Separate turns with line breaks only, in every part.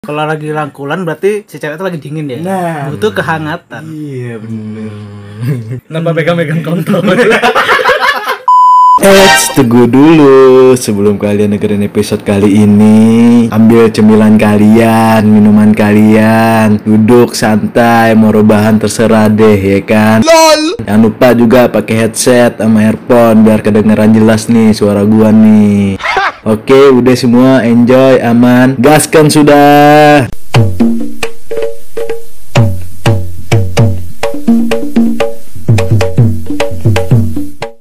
Kalau lagi rangkulan berarti si cewek itu lagi dingin ya.
Nah.
Butuh kehangatan.
Iya bener.
Nambah pegang-pegang kontol.
Eits, teguh dulu sebelum kalian dengerin episode kali ini Ambil cemilan kalian, minuman kalian Duduk, santai, mau rebahan terserah deh ya kan LOL Jangan lupa juga pakai headset sama earphone biar kedengeran jelas nih suara gua nih Oke, udah semua enjoy, aman Gaskan sudah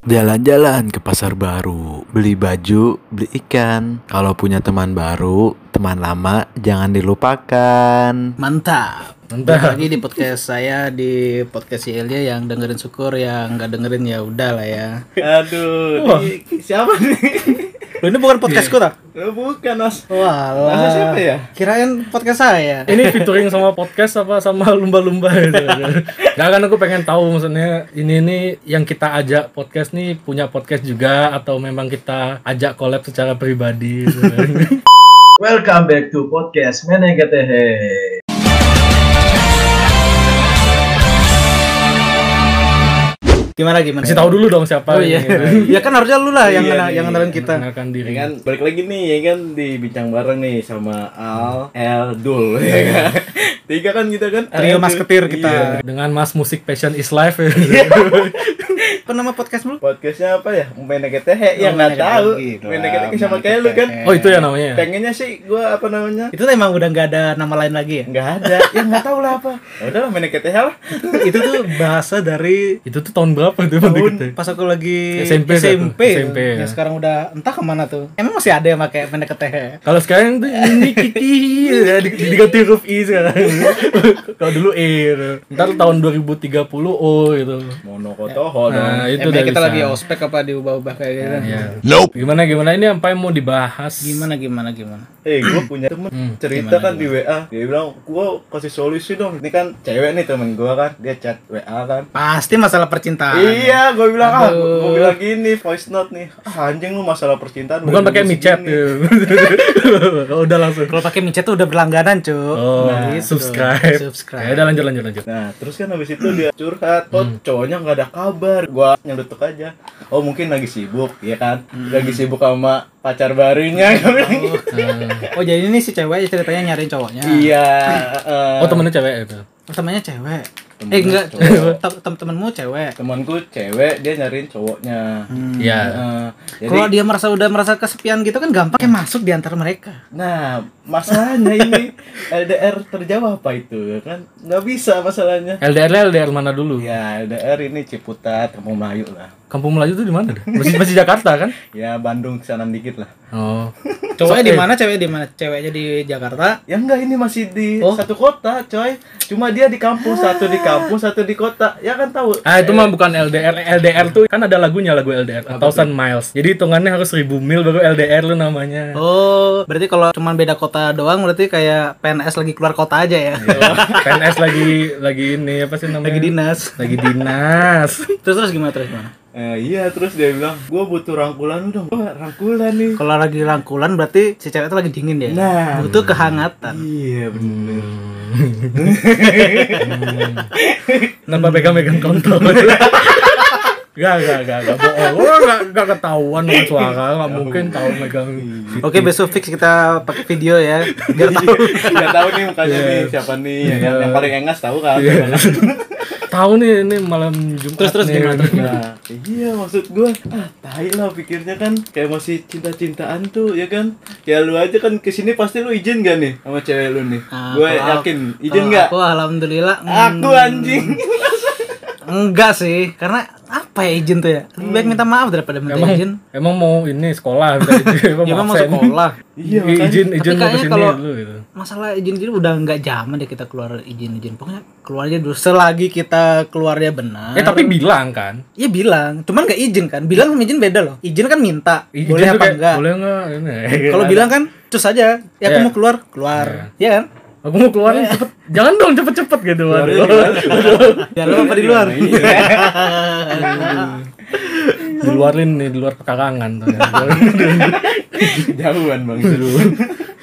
Jalan-jalan ke pasar baru, beli baju, beli ikan. Kalau punya teman baru, teman lama jangan dilupakan.
Mantap. Mantap. Lagi di podcast saya di podcast si Elia yang dengerin syukur yang nggak dengerin ya udah lah ya.
Aduh, ini siapa nih?
Loh, ini bukan podcast kota.
Lo bukan, Mas.
Walah.
Masa siapa ya?
Kirain podcast saya.
Ini featuring sama podcast apa sama lumba-lumba gitu. Nah kan aku pengen tahu maksudnya ini ini yang kita ajak podcast nih punya podcast juga atau memang kita ajak collab secara pribadi gitu.
Welcome back to podcast Menegetehe.
Gimana gimana?
Kasih tahu dulu dong
Oh
siapa gitu.
iya. ya kan harusnya lu lah yang
Iya,
kena-
iya.
yang kenalin kita.
Kenalkan diri.
Ya kan, balik lagi nih, ya kan di bincang bareng nih sama Al, El, Dul, ya kan? Tiga kan kita kan?
Iya. Trio
Al,
masketir
Dul.
kita.
Iya.
Dengan Mas Musik Passion is Life. gitu.
Iya. Apa nama podcast lu?
Podcastnya apa ya? Menegetehe, ya
Oh,
nggak tahu.
gitu lah,
Menegetehe sama kayak lu kan?
oh itu ya namanya.
Pengennya sih gua apa namanya?
Itu tuh emang udah nggak ada nama lain lagi ya.
Nggak ada, ya nggak tahu lah apa. Ya udahlah Menegetehe lah.
itu tuh bahasa dari
Itu tuh tahun berapa
tahun
tuh pendekatnya?
pas aku lagi
SMP,
SMP,
satu. SMP, ya.
yang sekarang udah entah kemana tuh emang masih ada yang pakai pendek ke teh
Kalau sekarang tuh ini kiki ya, di- diganti huruf i sekarang. Kalau dulu e. Gitu. Ntar tahun 2030 o gitu.
Ya.
Monokotoho dong.
Nah, itu
Emang
udah
kita
bisa. Iya,
lagi ospek apa diubah-ubah kayak gitu
Gimana gimana ini apa yang mau dibahas?
gimana gimana gimana
Eh, gue punya temen
Hmm,
cerita kan di WA. Dia bilang, gue kasih solusi dong. Ini kan cewek nih temen gue kan. Dia chat WA kan.
pasti masalah percintaan
Iya, gue bilang ah, gue bilang gini voice note nih. Ah, anjing lu masalah percintaan.
Bukan
udah
pakai
nunggu
micet. ya.
segini.
Udah langsung.
kalau pakai micet tuh udah berlangganan cu
Oh,
Gitu.
subscribe.
Subscribe.
Ya udah lanjut lanjut lanjut.
Nah, terus kan habis itu dia curhat, kok
Hmm.
cowoknya nggak ada kabar. Gua nyelutuk aja. Oh, mungkin lagi sibuk, ya kan?
Hmm.
Lagi sibuk sama pacar barunya. Gua bilang gitu.
nah.
oh jadi ini si cewek ceritanya nyariin cowoknya
Iya. eh,
Oh temennya cewek itu.
oh, temannya cewek
Temen
eh enggak
cowok.
tem- tem- temenmu cewek
temanku cewek dia nyariin cowoknya.
Iya.
Eh, jadi-
kalau dia merasa udah merasa kesepian gitu kan gampang kayak masuk di antara mereka
Nah, masalahnya ini LDR terjawab apa itu ya kan? Nggak bisa masalahnya.
LDR -nya LDR mana dulu?
Iya.
Ya, LDR ini Ciputat, Kampung Melayu lah.
Kampung Melayu tuh di mana dah? Masih masih Jakarta kan?
Ya, Bandung sana dikit lah.
Oh.
cowoknya di
eh,
mana cewek di mana ceweknya di Jakarta
Ya enggak, ini masih di
Oh. Ah.
satu kota, coy. Cuma dia di kampus, satu di kampus, satu di kota. Ya kan tahu.
Ah itu mah bukan LDR, LDR tuh kan ada lagunya lagu LDR, Thousand Miles. Jadi hitungannya harus 1000 mil baru LDR lu namanya.
Oh, berarti kalau cuman beda kota doang berarti kayak PNS lagi keluar kota aja ya.
Iya. PNS lagi lagi ini apa sih namanya?
lagi dinas.
Lagi dinas.
Terus terus gimana terus gimana?
Eh, iya, terus dia bilang, "Gua butuh rangkulan lu dong." Gua rangkulan nih.
Kalau lagi rangkulan berarti si cewek itu lagi dingin ya.
Nah.
Butuh kehangatan.
Iya, bener.
Hmm.
Nambah pegang-pegang kontol. Gak, gak, gak, gak bohong. Lo gak, gak ketahuan dengan suara, gak mungkin Iya. tahu megang.
Oke, besok fix kita pakai video ya. Biar tahu. Iya.
Enggak tahu nih mukanya nih siapa nih ya kan? Yang paling engas tahu kan?
Tahu nih ini malam Jumat.
Terus, terus
nih.
gimana, terus
Nah, iya maksud gua ah tai lah pikirnya kan kayak masih cinta-cintaan tuh ya kan ya lu aja kan kesini pasti lu izin gak nih sama cewek lu nih
Nah,
gue
kalau-
yakin izin
kalau
gak
Aku alhamdulillah.
aku,
mm,
anjing
Enggak sih, karena apa ya izin tuh ya? Lebih baik minta maaf daripada minta
Emang,
izin.
emang mau ini sekolah, minta izin,
Ya
emang
emang
mau
mau sekolah.
Iya,
Iya,
makanya.
izin,
Tapi
izin mau
kayaknya
kesini
kalau-
dulu gitu.
Masalah izin-izin udah nggak zaman deh kita keluar izin-izin. Pokoknya keluar aja dulu selagi kita keluarnya benar.
Eh tapi bilang kan,
Iya bilang, cuman nggak izin kan. Bilang sama izin beda loh. Izin kan minta,
I-
boleh
izin tuh
apa
kayak,
enggak.
Boleh enggak? Ini,
Kalau
gitu.
bilang kan, cus aja. Ya aku
Iya.
mau keluar, keluar. Iya kan?
aku mau keluar
Iya.
nih, cepet, jangan dong cepet-cepet gitu. Waduh.
Ya lu apa di luar?
Iya,
Di luar ini, di luar pekarangan. tuh.
jauhan bang seru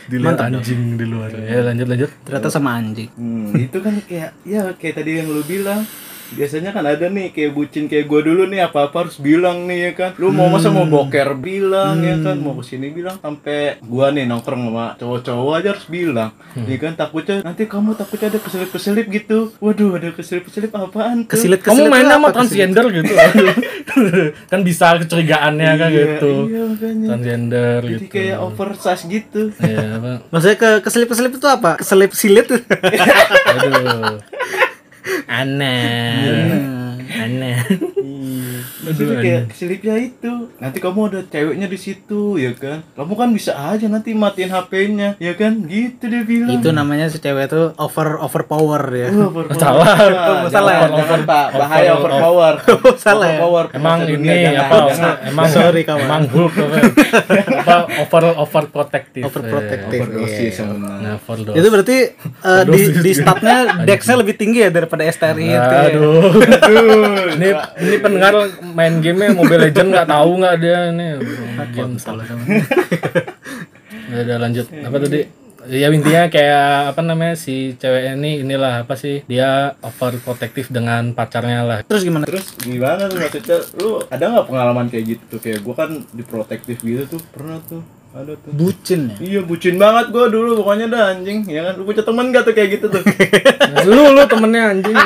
di luar anjing di luar ya lanjut lanjut
Ternyata sama anjing.
Hmm, itu kan kayak ya kayak tadi yang lu bilang biasanya kan ada nih kayak bucin kayak gua dulu nih apa apa harus bilang nih ya kan lu mau masa
Hmm.
mau boker bilang ya kan mau kesini bilang sampai gua nih nongkrong sama cowok-cowok aja harus bilang
Hmm.
ya kan takutnya nanti kamu takutnya ada keselip-keselip gitu waduh ada keselip-keselip apaan tuh
Kesilit
kamu
kesilit
main
lah
sama
apa kesilit?
transgender gitu kan bisa kecurigaannya kan
Iya,
gitu
iya makanya
transgender
jadi
gitu
kayak oversize gitu
ya apa
Maksudnya ke keselip keselip itu apa? Keselip silit.
aduh aneh aneh
Maksudnya kayak selipnya itu. Nanti kamu ada ceweknya di situ, ya kan? Kamu kan bisa aja nanti matiin HP-nya, ya kan? Gitu dia bilang.
itu namanya si cewek itu over overpower ya.
Wah,
Oh,
overpower.
Salah. ya?
Nah,
Salah.
jangan, jangan, Pak. Bahaya
Over-
overpower.
Salah ya?
Overpower.
Emang
Penguasa
ini
dunia, jangan,
apa?
jangan.
Emang
Sorry, kawan.
Emang Hulk apa? apa over over protective.
Overprotective.
Overdosis
Iya.
sama.
Nah, overdosis.
Itu berarti eh, di di statnya dexnya lebih tinggi ya daripada STRI itu. ya.
Aduh. ini ini pendengar main game Mobile Legend nggak tahu nggak dia nih. Game salah. Udah, udah lanjut. Apa tadi? Ya intinya kayak apa namanya si cewek ini inilah apa sih dia overprotective dengan pacarnya lah.
Terus gimana?
Terus gimana tuh maksudnya? Lu ada nggak pengalaman kayak gitu? Kayak gua kan di protektif gitu tuh pernah tuh. Ada tuh.
Bucin ya.
Iya bucin banget gua dulu pokoknya dah anjing ya kan lu punya teman gak tuh kayak gitu tuh
lu lu temennya anjing.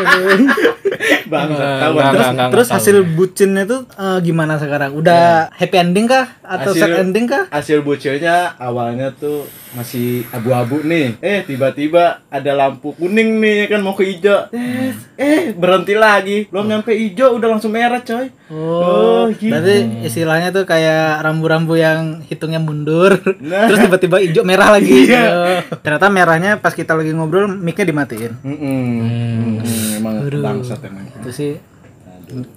bang tahu ya.
Nggak, nggak,
terus
nggak,
Terus
nggak tahu.
hasil bucinnya itu eh, gimana sekarang? Udah happy ending kah atau
Hasil-
sad ending kah?
hasil bucilnya awalnya tuh masih abu-abu nih eh tiba-tiba ada lampu kuning nih ya kan mau ke hijau eh, eh berhenti lagi belum nyampe hijau udah langsung merah coy
Oh,
gitu.
berarti istilahnya tuh kayak rambu-rambu yang hitungnya mundur,
Nah.
terus tiba-tiba hijau merah lagi.
Iya.
Oh. Ternyata merahnya pas kita lagi ngobrol, mic-nya dimatiin.
Mm-mm.
Hmm.
Mm-mm, emang bangsat emang
Itu sih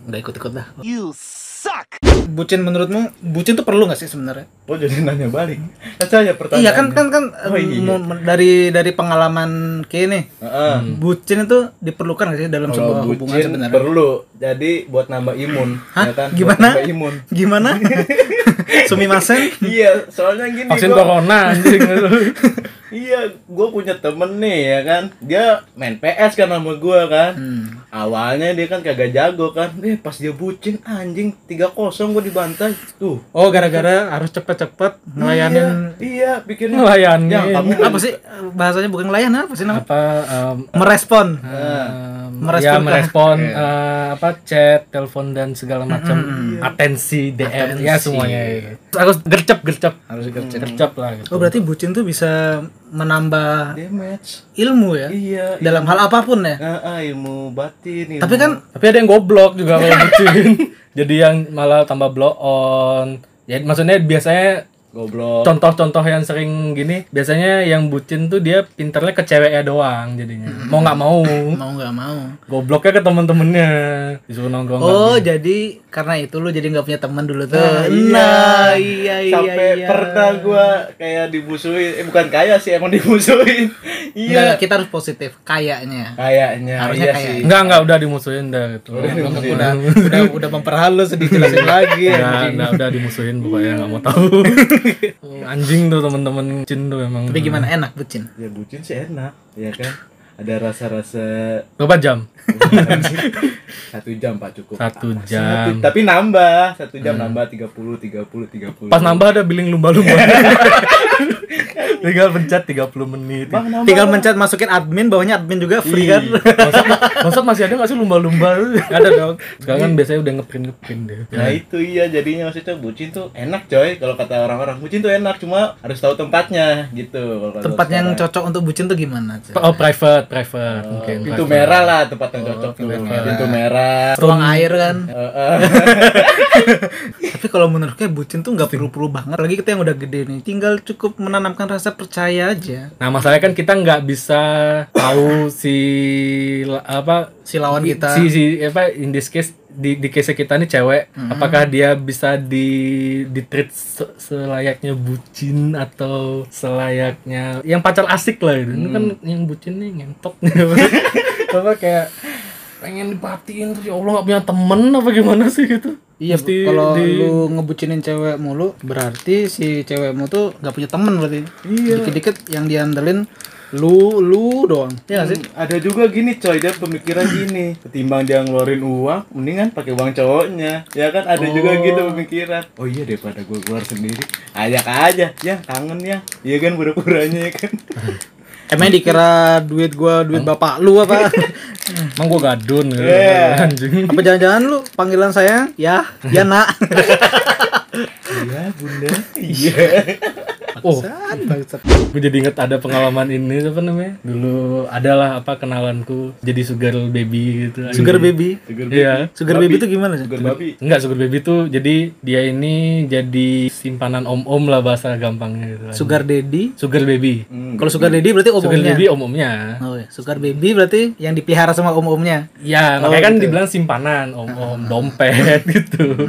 nggak ikut-ikut dah. You suck. Bucin menurutmu, bucin tuh perlu nggak sih sebenarnya?
oh jadi nanya balik saya pertanyaan
Iya kan kan kan
Oh, iya.
mo- dari dari pengalaman kayak nih,
Heeh.
bucin itu diperlukan nggak sih dalam sebuah
Kalau
Hmm. hubungan
bucin
sebenarnya?
perlu jadi buat nambah imun
Hah?
ya kan Buat
Gimana?
nambah imun
Gimana? Sumimasen?
iya soalnya gini
Vaksin
gua-
corona anjing.
Iya, gue punya temen nih ya kan. Dia main PS kan sama gue kan.
Hmm.
Awalnya dia kan kagak jago kan. Eh pas dia bucin anjing 3-0 gue dibantai. Tuh.
Oh, gara-gara harus cepet-cepet ngelayanin
Iya, iya pikirnya.
Ngelayanin.
Ya, kamu
apa sih bahasanya bukan ngelayan apa sih namanya?
apa em,
Merespon.
Eh.
em,
Merespon
ya
kah?
merespon eh, apa chat, telepon dan segala macam Iya. atensi DM ya semuanya. itu. Harus gercep gercep. Harus gercep. Gercep lah gitu.
Oh berarti bucin tuh bisa menambah
damage.
ilmu ya
Iya. iya.
dalam hal apapun ya.
Ah, ah, ilmu batin. Ilmu.
Tapi kan
Tapi ada yang goblok juga kalau bucin. Jadi yang malah tambah blow on. Ya maksudnya biasanya
goblok.
contoh-contoh yang sering gini biasanya yang bucin tuh dia pinternya ke ceweknya doang jadinya. Mau nggak mau.
mau nggak mau.
Gobloknya ke temen-temennya disuruh nongkrong.
Oh jadi karena itu lu jadi nggak punya teman dulu tuh. Nah, iya iya
Sampai
iya.
pernah gue kayak dimusuhin. Eh bukan kaya sih emang dimusuhin.
Nggak,
iya.
kita harus positif kayaknya.
Kayaknya.
Harusnya
iya
kayak.
sih.
Enggak, enggak udah dimusuhin dah gitu.
Udah udah udah memperhalus dijelasin lagi.
Udah, udah, udah dimusuhin pokoknya nggak mau tahu. Anjing tuh temen-temen Cin tuh emang.
Tapi gimana enak bucin?
Ya bucin sih enak, ya kan? Ada rasa-rasa
Berapa jam?
satu jam pak cukup
Satu
Satu-
jam.
tapi nambah satu jam nambah tiga puluh tiga puluh tiga puluh
Pas nambah ada billing lumba-lumba. Tinggal pencet 30 menit.
bang nambah
Tinggal mencet masukin admin, bawahnya admin juga free kan.
Iya.
Maksud, maksud masih ada nggak sih lumba-lumba? Nggak ada dong. Sekarang kan biasanya udah ngeprint ngeprint deh.
nah itu iya jadinya maksudnya bucin tuh enak coy kalau kata orang-orang bucin tuh enak cuma harus tahu tempatnya gitu kalau kata
Tempat yang
sekarang.
cocok untuk bucin tuh gimana? Cek?
Oh private, private mungkin.
pintu
private.
merah lah tempat yang cocok tuh pintu merah
Ruang air kan.
Eh, eh.
Tapi kalau menurut gue bucin tuh nggak perlu-perlu banget. Lagi kita yang udah gede nih, tinggal cukup menanamkan rasa percaya aja.
Nah masalahnya kan kita nggak bisa tahu si apa
Iya, Si lawan kita.
si si apa in this case di di case kita nih cewek
Mhm.
apakah dia bisa di di treat se- selayaknya bucin atau selayaknya
Hmm.
yang pacar asik lah gitu Ini kan yang bucin nih ngentot apa kayak pengen dipatiin terus ya Allah nggak punya temen apa gimana sih gitu
Iya,
Mesti
kalau
di-
lu ngebucinin cewek mulu, berarti si cewekmu tuh nggak punya temen berarti. Iya. Dikit-dikit yang diandelin lu lu doang. Iya nggak sih?
Hmm, Ada juga gini coy, dia pemikiran gini Ketimbang dia ngeluarin uang, mendingan pakai uang cowoknya Ya kan, ada juga gitu pemikiran Oh iya daripada gue keluar sendiri Ajak aja, ya kangen ya Iya kan, pura-puranya ya kan
Emang dikira duit gua duit bapak lu apa? Hmm.
emang gua gadun gitu
Iya.
anjing
apa jangan-jangan lu panggilan saya? Ya, ya nak.
Iya bunda, iya
oh gue jadi inget ada pengalaman ini apa namanya dulu adalah apa kenalanku jadi sugar baby gitu
Sugar baby.
iya
Sugar baby itu gimana sih?
Bukan babi
Enggak, sugar baby tuh jadi dia ini jadi simpanan om-om lah bahasa gampangnya gitu.
Sugar Hmm. daddy.
Sugar baby.
Kalau sugar daddy berarti
Sugar
om-omnya.
baby om-omnya.
Oh, iya. Sugar baby berarti yang dipelihara sama om-omnya.
Ya,
Oh,
makanya
gitu.
kan dibilang simpanan, om-om,
Ah.
dompet gitu.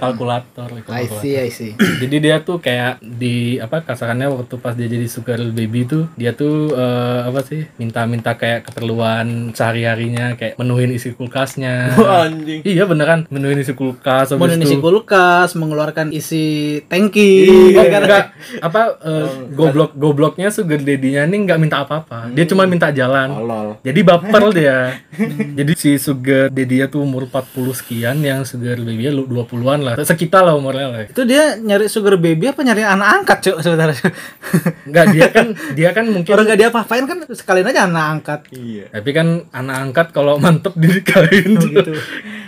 Kalkulator,
Hmm. I
kalkulator.
see, I see.
Jadi dia tuh kayak di apa kasarannya waktu pas dia jadi sugar baby tuh dia tuh eh, apa sih minta-minta kayak keperluan sehari-harinya kayak menuhin isi kulkasnya.
Wah, Oh, anjing
Iya beneran menuhin isi kulkas
Mau
habis
isi
itu
kulkas, mengeluarkan isi tangki.
Oh, enggak apa eh, goblok gobloknya sugar daddy-nya nih nggak minta apa-apa. Dia cuma minta jalan.
Tolol
Jadi baper dia. Jadi si sugar daddy-nya tuh umur 40 sekian yang sugar baby-nya lu 20-an lah. Sekitar lah umurnya lah.
Itu dia nyari sugar baby apa nyari anak angkat, Cuk, sebenarnya?
Enggak dia kan dia kan mungkin
Orang gak diapa-apain kan sekalian aja anak angkat.
Iya
tapi kan anak angkat kalau mantep dinikahin gitu.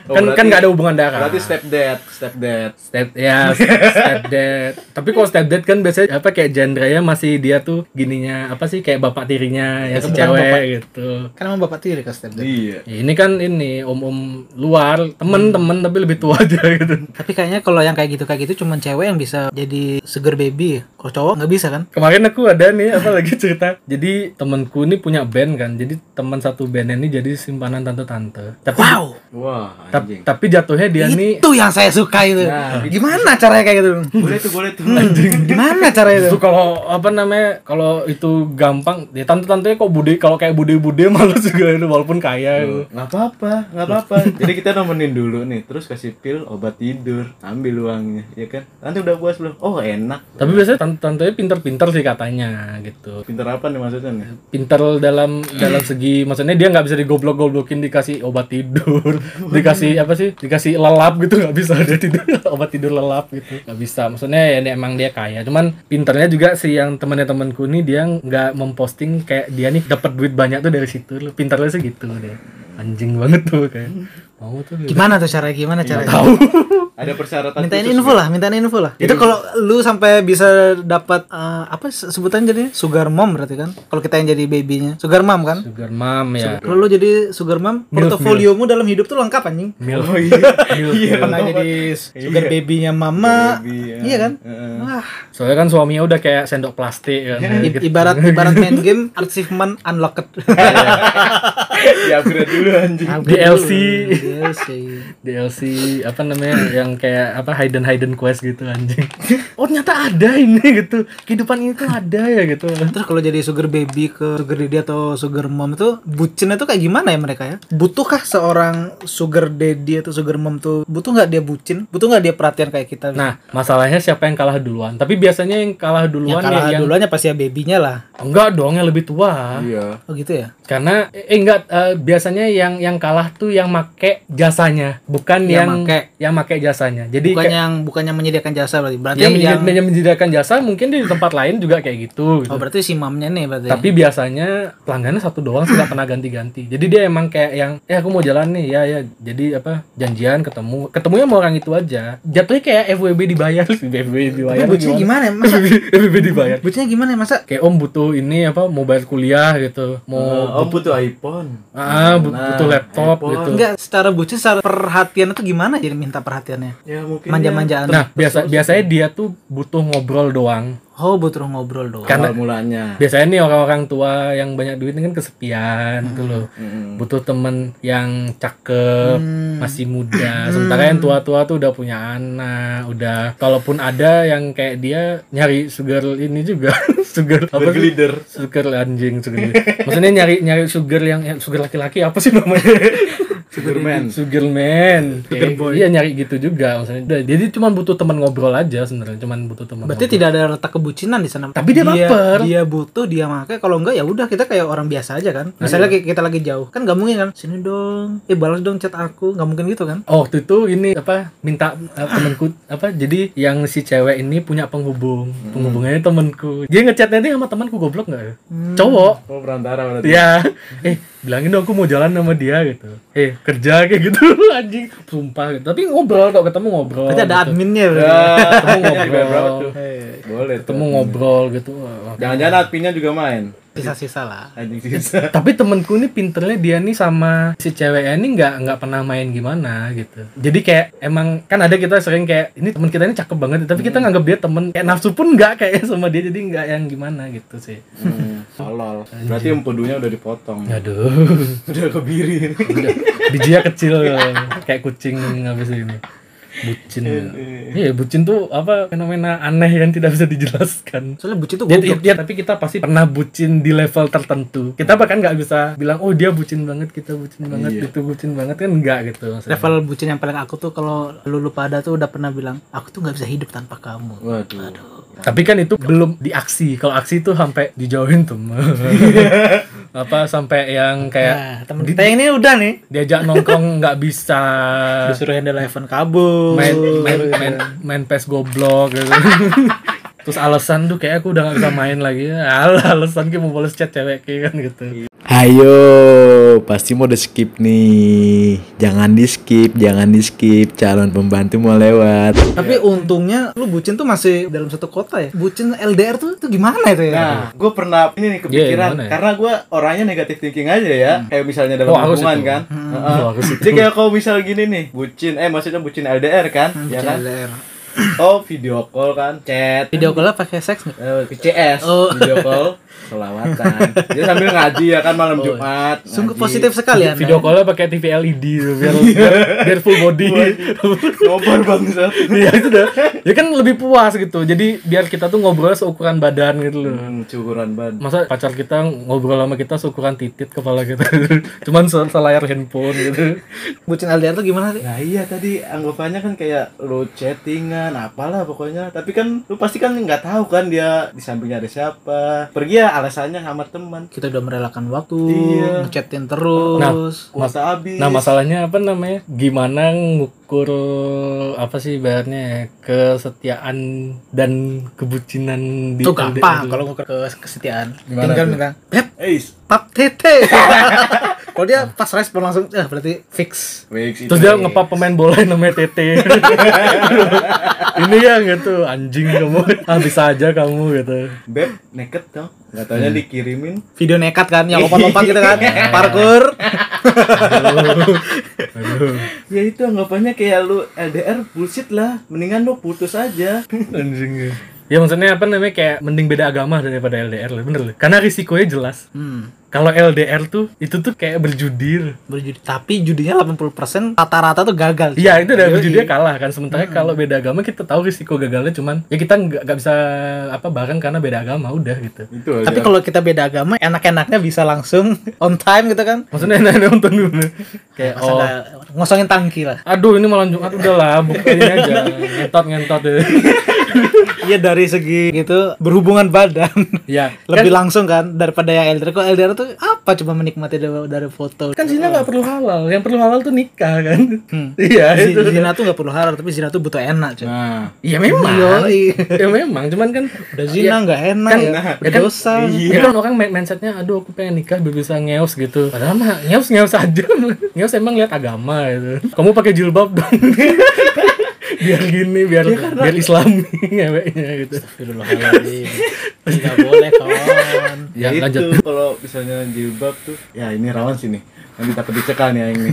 Oh,
kan kan
berarti-
nggak ada hubungan darah.
Berarti step dad, step dad
Step ya step dad. Tapi kalau step dad kan biasanya apa kayak genrenya masih dia tuh gininya apa sih kayak bapak tirinya ya si
bukan
cewek
bapak.
gitu.
Kan emang bapak tiri kan step dad.
Iya
Ya, ini kan ini om-om luar, temen-temen tapi lebih tua aja gitu.
Tapi kayaknya kalau yang kayak gitu kayak gitu cuman cewek yang bisa jadi sugar baby. ya. Kalau cowok nggak bisa kan?
Kemarin aku ada nih apa lagi cerita. Jadi temenku ini punya band kan. Jadi teman satu band ini jadi simpanan tante-tante. Tapi
Wow, Iya.
Wah,
tap-
anjing
tapi jatuhnya dia nih
itu yang saya suka itu. Gimana caranya kayak gitu?
Boleh tuh, boleh tuh
Hmm.
Gimana caranya itu?
itu kalau apa namanya kalau itu gampang ya tante-tantenya kok bude kalau kayak bude-bude males juga itu walaupun kaya gitu.
nggak apa-apa nggak apa-apa jadi kita nemenin dulu nih terus kasih pil obat tidur ambil uangnya ya kan nanti udah puas belum oh enak
Tapi biasanya tante tantenya pinter-pinter sih katanya gitu.
pinter apa nih maksudnya nih
pinter dalam dalam segi maksudnya dia nggak bisa digoblok-goblokin dikasih obat tidur dikasih apa sih dikasih lelap gitu nggak bisa dia tidur obat tidur lelap gitu nggak bisa maksudnya ya dia- emang dia kaya cuman pinternya juga si yang temennya temanku nih dia nggak memposting kayak dia nih dapat duit banyak tuh dari situ loh pinternya sih gitu dia anjing banget tuh kayak mau tuh gitu.
Gimana tuh caranya? Gimana caranya?
ada persyaratan
Mintain
khusus
info lah, mintain info lah. Itu kalau lu sampai bisa dapat eh, apa se- sebutan jadi sugar mom berarti kan? Kalau kita yang jadi babynya, sugar mom kan?
sugar mom ya
Kalau lu jadi sugar mom, portofoliomu dalam hidup tuh lengkap anjing. Iya,
Milf. Milf, milf.
Pernah jadi sugar babynya mama. Iya kan? Wah,
soalnya kan suaminya udah kayak sendok plastik kan
Iya, i- ibarat ibarat main game achievement unlocked.
di upgrade dulu anjing
DLC.
DLC.
DLC apa namanya yang kayak apa hidden hidden quest gitu anjing. Oh ternyata ada ini gitu. Kehidupan ini tuh ada ya gitu.
Terus kalau jadi sugar baby ke sugar daddy atau sugar mom itu bucinnya tuh kayak gimana ya mereka ya? Butuhkah seorang sugar daddy atau sugar mom tuh butuh nggak dia bucin? Butuh nggak dia perhatian kayak kita?
Nah, masalahnya siapa yang kalah duluan? Tapi biasanya yang kalah
yang
duluan ya,
kalah
yang
duluannya pasti ya babynya lah.
enggak dong yang lebih tua.
iya
Oh gitu ya?
Karena eh enggak eh, biasanya yang yang kalah tuh yang make jasanya, bukan
Yang
yang
make.
yang make jasanya. Jadi
Bukan
kayak-
yang bukan yang menyediakan jasa berarti. Berarti
yang,
yang,
menjadi- yang menyediakan jasa mungkin di tempat lain juga kayak gitu. gitu.
Oh berarti si mamnya nih berarti. ya?
Tapi biasanya pelanggannya satu doang sih nggak pernah ganti-ganti. Jadi dia emang kayak yang eh aku mau jalan nih ya ya. Jadi apa janjian ketemu, ketemunya sama orang itu aja. Jatuhnya kayak FWB dibayar sih FWB dibayar.
Tapi bucinnya gimana? ya? Masa
FWB dibayar.
bucinnya gimana ya? Masa
Kayak om butuh ini apa mau bayar kuliah gitu, mau
oh butuh iPhone
ah but- butuh laptop
iPhone.
gitu.
enggak secara bucin secara perhatian itu gimana jadi minta perhatiannya?
ya mungkin
Manja-manjaan.
Nah, biasa biasanya dia tuh butuh ngobrol doang.
Oh butuh ngobrol doang.
karena mulanya
Biasanya nih orang-orang tua yang banyak duit ini kan kesepian
Hmm,
gitu loh. Butuh temen yang cakep,
Hmm.
masih muda. Sementara yang tua-tua tuh udah punya anak, udah kalaupun ada yang kayak dia nyari sugar ini juga, sugar apa sih?
Berglider.
eh, Sugar anjing, sugar. Maksudnya nyari nyari sugar yang yang sugar laki-laki apa sih namanya?
Superman.
Sugarman.
Sugar boy.
Iya nyari gitu juga maksudnya. Udah, Jadi cuman butuh teman ngobrol aja sebenarnya, cuman butuh teman.
Berarti
ngobrol.
tidak ada letak kebucinan di sana. Iya,
Tapi dia baper.
Dia butuh, dia makai. Kalau enggak ya udah kita kayak orang biasa aja
Iya.
kan. Misalnya kayak kita lagi jauh, kan nggak mungkin kan. Sini dong, eh balas dong chat aku, nggak mungkin gitu kan.
Oh, waktu itu ini apa minta eh, temanku apa jadi yang si cewek ini punya penghubung. Penghubungnya temanku. Dia ngechat nanti sama temanku goblok enggak ya? Cowok.
Oh perantara berarti.
Iya. Eh, bilangin dong aku mau jalan sama dia gitu. Eh, kerja kayak gitu anjing. Sumpah gitu. Tapi ngobrol kalau ketemu ngobrol.
Berarti ada
gitu.
adminnya berarti.
Ah,
Ketemu
Dibayar berapa
ngobrol.
tuh? Boleh tuh.
Ketemu ngobrol gitu. Wah,
Jangan-jangan adminnya juga main.
Sisa-sisa lah.
Anjing
Nah,
sisa.
tapi temenku ini pinternya dia nih sama si ceweknya ini nggak nggak pernah main gimana gitu jadi kayak emang kan ada kita sering kayak ini temen kita ini cakep banget ya," tapi kita nganggap dia temen kayak nafsu pun nggak kayak sama dia jadi nggak yang gimana gitu sih
Hmm, Tolol. Berarti empedunya udah dipotong.
Ya. aduh
Udah kebiri.
udah bijinya kecil kayak kucing habis ini bucin iya bucin tuh apa fenomena aneh yang tidak bisa dijelaskan
Soalnya bucin tuh
Dia- dia-
goblok.
dia- tapi kita pasti pernah bucin di level tertentu. Kita bahkan nggak bisa bilang, oh dia bucin banget, kita bucin banget, itu bucin banget kan nggak gitu. maksudnya.
Level bucin yang paling aku tuh kalau lu lupa ada tuh udah pernah bilang, aku tuh nggak bisa hidup tanpa kamu.
Waduh.
Tapi kan itu belum di aksi. Kalau aksi itu sampai dijauhin tuh. apa sampai yang
Nah,
kayak
temen kita yang ini udah nih.
diajak nongkrong nggak bisa
Disuruh handle iPhone kabur.
main Eh. main main, main pes goblok gitu. Terus alasan tuh kayak aku udah gak bisa main lagi. Alah, alasan kayak mau balas chat cewek kayak kan gitu.
Hayo, pasti mau di skip nih. Jangan di skip, jangan di skip. Calon pembantu mau lewat.
Tapi
iya.
untungnya lu bucin tuh masih dalam satu kota ya. Bucin LDR tuh tuh gimana itu ya?
Nah, gue pernah ini nih kepikiran
gimana ya?
karena gue orangnya negatif thinking aja ya. Kayak misalnya dalam
Oh, harus
hubungan
itu.
kan. Heeh.
Oh, harus itu.
Jadi kayak kalau misal gini nih, bucin eh maksudnya bucin LDR kan,
Hmm, Bucin
ya kan?
LDR.
Oh, video call kan, chat.
Video call pakai seks nggak?
Eh, PCS,
Oh.
video call, selawatan. Dia sambil ngaji ya kan malam Jumat.
Sungguh
ngaji.
positif sekali ya.
Video call pakai TV LED E tuh, biar, biar biar full body.
Nobar bangsa.
Iya itu dah. Ya kan lebih puas gitu. Jadi biar kita tuh ngobrol seukuran badan gitu loh.
Hmm, cukuran ban.
Masa pacar kita ngobrol sama kita seukuran titit kepala kita. Cuman se- selayar handphone gitu.
Bucin LDR tuh gimana sih?
Nah iya tadi anggapannya kan kayak lu chattingan apalah pokoknya Tapi kan lu pasti kan nggak tahu kan dia di sampingnya ada siapa Pergi ya alasannya sama teman
Kita udah merelakan waktu,
Iya.
ngechatin terus.
Kuasa habis
Nah, masalahnya apa namanya? Gimana ngukur apa sih bahannya ya? kesetiaan dan kebucinan Nah, di
Itu
LDR
gampang
dulu.
kalau ngukur ke- kesetiaan.
Gimana
Tinggal
tuh?
minta, "Beb,
Eis
pap tete." kalau dia pas respon langsung, eh berarti fix.
Fix itu
Terus dia ngepap pemain bola yang namanya Tete. Ini ya gitu, anjing kamu. Ah bisa aja kamu gitu.
Beb, naked dong Gak taunya dikirimin
Video nekat kan yang lompat-lompat gitu kan,
Iya.
parkur.
Ya itu anggapannya kayak lu LDR bullshit lah Mendingan lu putus aja
Anjing Ya maksudnya apa namanya kayak mending beda agama daripada LDR lah, bener lah. Karena risikonya jelas.
Hmm.
Kalau LDR tuh itu tuh kayak berjudir.
Berjudi. Tapi judinya 80% rata-rata tuh gagal.
Iya itu udah berjudirnya kalah kan. Sementara kalau beda agama kita tahu risiko gagalnya cuman ya kita nggak nggak bisa apa bareng karena beda agama udah gitu.
Itu
Tapi kalau kita beda agama, enak-enaknya bisa langsung on time gitu kan.
Maksudnya enak nonton dulu.
Masa
Kayak oh,
nggak- ngosongin tangki lah.
aduh ini malam Jumat udahlah bukain aja ngentot ngentot gitu. deh.
Iya dari segi gitu berhubungan badan.
Ya
lebih langsung kan daripada yang LDR kok LDR tuh apa cuma menikmati dari, dari foto
kan zina nggak perlu halal, yang perlu halal tuh nikah kan.
Hmm.
Iya
Zi-
itu.
zina tuh nggak perlu halal tapi zina tuh butuh enak cuy
Nah
Iya memang.
Yoi.
ya memang cuman kan
udah
Iya.
zina nggak enak
kan,
ya
nah.
ya
udah
kan,
dosa
Iya. kan orang mind- mindsetnya aduh aku pengen nikah biar bisa ngeos gitu padahal mah ngeos ngeos aja ngeos emang lihat agama gitu kamu pakai jilbab dong biar gini biar biar islami ngeweknya gitu
nggak boleh kawan
ya
itu
lanjut
kalau misalnya jilbab tuh ya ini rawan sih nih nanti takut dicekal nih yang ini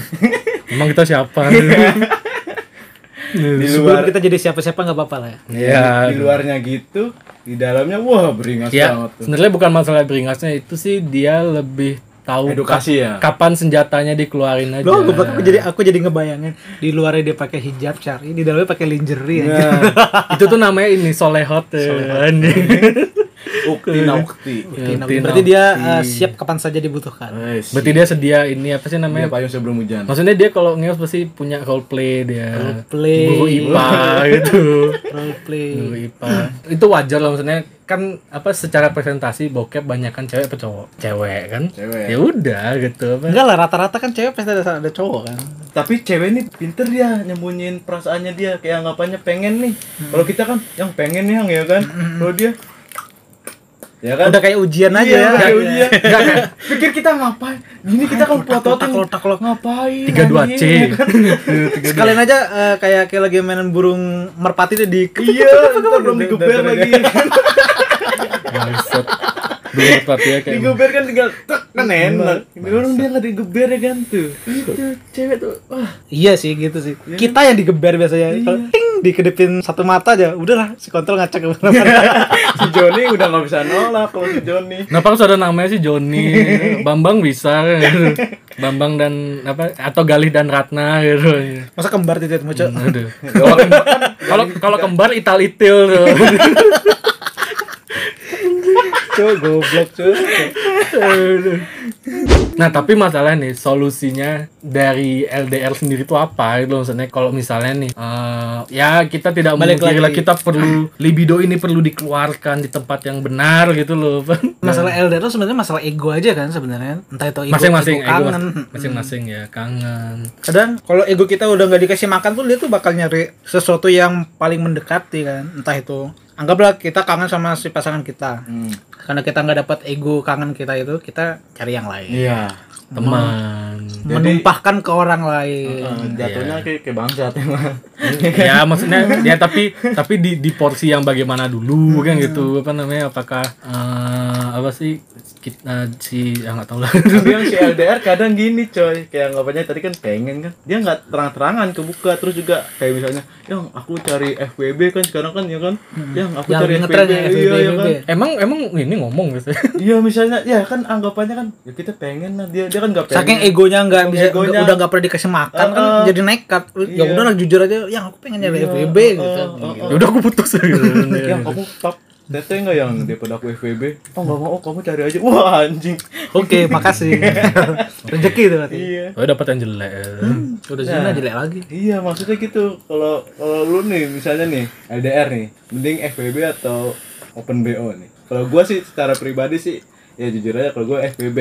emang kita siapa
di
sebelum
luar Iya.
kita jadi siapa-siapa nggak apa-apa lah ya
ya
di luarnya gitu di dalamnya wah beringas
ya
banget tuh
sebenarnya bukan masalah beringasnya itu sih dia lebih tahu
edukasi ya
kapan senjatanya dikeluarin aja
Loh, gue aku jadi aku jadi ngebayangin di luarnya dia pakai hijab syari, di
ya,
dalamnya pakai lingerie. anjing.
nah,
itu tuh namanya ini solehot, ya. Anjing.
ukti naukti
Tin
nah, Berarti dia
Aukti.
eh, siap kapan saja dibutuhkan.
Berarti dia sedia ini apa sih
Dia
namanya?
payung Iya, sebelum hujan
Maksudnya dia kalau ngeos pasti punya roleplay dia.
Roleplay.
Guru IPA gitu.
Role
Guru
play.
IPA. Itu wajar lah maksudnya kan apa secara presentasi bokep banyakan cewek apa cowok? Cewek kan?
Cewek.
Ya udah gitu apa.
Enggak lah rata-rata kan cewek pasti ada, ada cowok kan.
tapi cewek ini pinter ya nyembunyiin perasaannya dia kayak anggapannya pengen nih kalau kita kan yang pengen yang ya kan kalau dia ya kan
Udah kayak ujian aja
Iya,
ya.
kayak
Iya.
ujian. pikir kita ngapain ini kita kan plototin
Kotak-kotak
ngapain
32C.
anjing, ya kan?
Sekalian aja eh, kayak kayak lagi mainan burung merpati tuh di
iya ntar belum digeber lagi
Maksud. Belum tepat ya kayak.
digeber kan tinggal tek
Iya,
kan enak ini orang dia nggak digeber ya kan tuh itu cewek tuh wah
Iya sih gitu sih. Kita yang digeber biasanya. Kalau ting dikedipin satu mata aja, udahlah si kontol ngacak ke mana-mana.
si Joni udah nggak bisa nolak kalau si Joni
Kenapa harus ada namanya sih Joni? Bambang bisa. gitu. Bambang dan apa atau Galih dan Ratna gitu.
Masa kembar titit muncul.
Aduh. Kalau kembar kan- kalau kalau kembar italitil tuh.
Cuk, goblok cuk.
Nah, tapi masalah nih solusinya dari LDR sendiri itu apa gitu loh. maksudnya kalau misalnya nih eh, ya kita tidak
Balik
memungkiri lah
lagi.
kita perlu libido ini perlu dikeluarkan di tempat yang benar gitu loh.
Masalah LDR tuh sebenarnya masalah ego aja kan sebenarnya. Entah itu ego,
Masing-masing
ego
ego
kangen.
masing-masing ya kangen.
Kadang kalau ego kita udah nggak dikasih makan tuh dia tuh bakal nyari sesuatu yang paling mendekati kan. Entah itu anggaplah kita kangen sama si pasangan kita.
Hmm.
Karena kita nggak dapat ego kangen kita itu, kita cari yang lain.
iya
Teman.
Menumpahkan ke orang lain.
Eh, jatuhnya
iya.
kayak kayak bangsat
ya maksudnya ya tapi tapi di di porsi yang bagaimana dulu kan
Hmm.
gitu apa namanya apakah eh, apa sih kita si ya nggak tahu lah
Tapi yang si LDR kadang gini coy Kayak anggapannya tadi kan pengen kan Dia nggak terang-terangan kebuka Terus juga kayak misalnya Yang aku cari FWB kan sekarang kan ya kan Yang
Hmm.
aku
Yang
cari
ngetren
FWB,
ya,
Iya
FWB.
ya kan
emang emang ini ngomong gitu
Iya misalnya Ya kan anggapannya kan Ya kita pengen lah Dia, dia kan nggak pengen
Saking egonya nggak bisa
Egonya.
udah- udah nggak pernah dikasih makan kan
Uh-uh.
jadi nekat. Ya
Iya.
udahlah jujur aja, yang aku pengen nyari FWB gitu.
ya udah aku putus gitu.
Yang kamu top Tete nggak yang daripada aku FWB Oh nggak mau kamu cari aja Wah anjing
Oke, makasih. Rezeki itu berarti.
Iya
oh dapat yang jelek
Udah zina jelek lagi.
Iya maksudnya gitu kalau kalau lu nih misalnya nih LDR nih mending FBB atau Open BO nih kalau gua sih secara pribadi sih ya jujur aja kalau gua FBB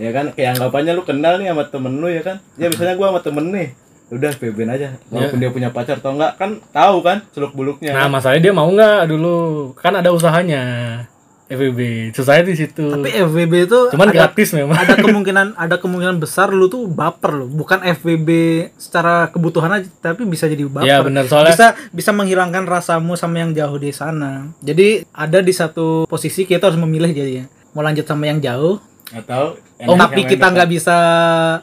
ya kan kayak anggapannya lu kenal nih sama temen lu ya kan ya misalnya gua sama temen nih udah FBB aja walaupun dia punya pacar atau enggak kan tahu kan seluk beluknya
Iya. nah masalahnya dia mau nggak dulu kan ada usahanya FBB susahnya di situ
Tapi FWB itu
cuman
ada,
gratis memang
ada kemungkinan ada kemungkinan besar lu tuh baper lu, bukan FWB secara kebutuhan aja, tapi bisa jadi baper.
Iya, benar, soalnya-
bisa bisa menghilangkan rasamu sama yang jauh di sana. Jadi ada di satu posisi kita harus memilih jadinya. Mau lanjut sama yang jauh,
atau
Oh, tapi kita nggak bisa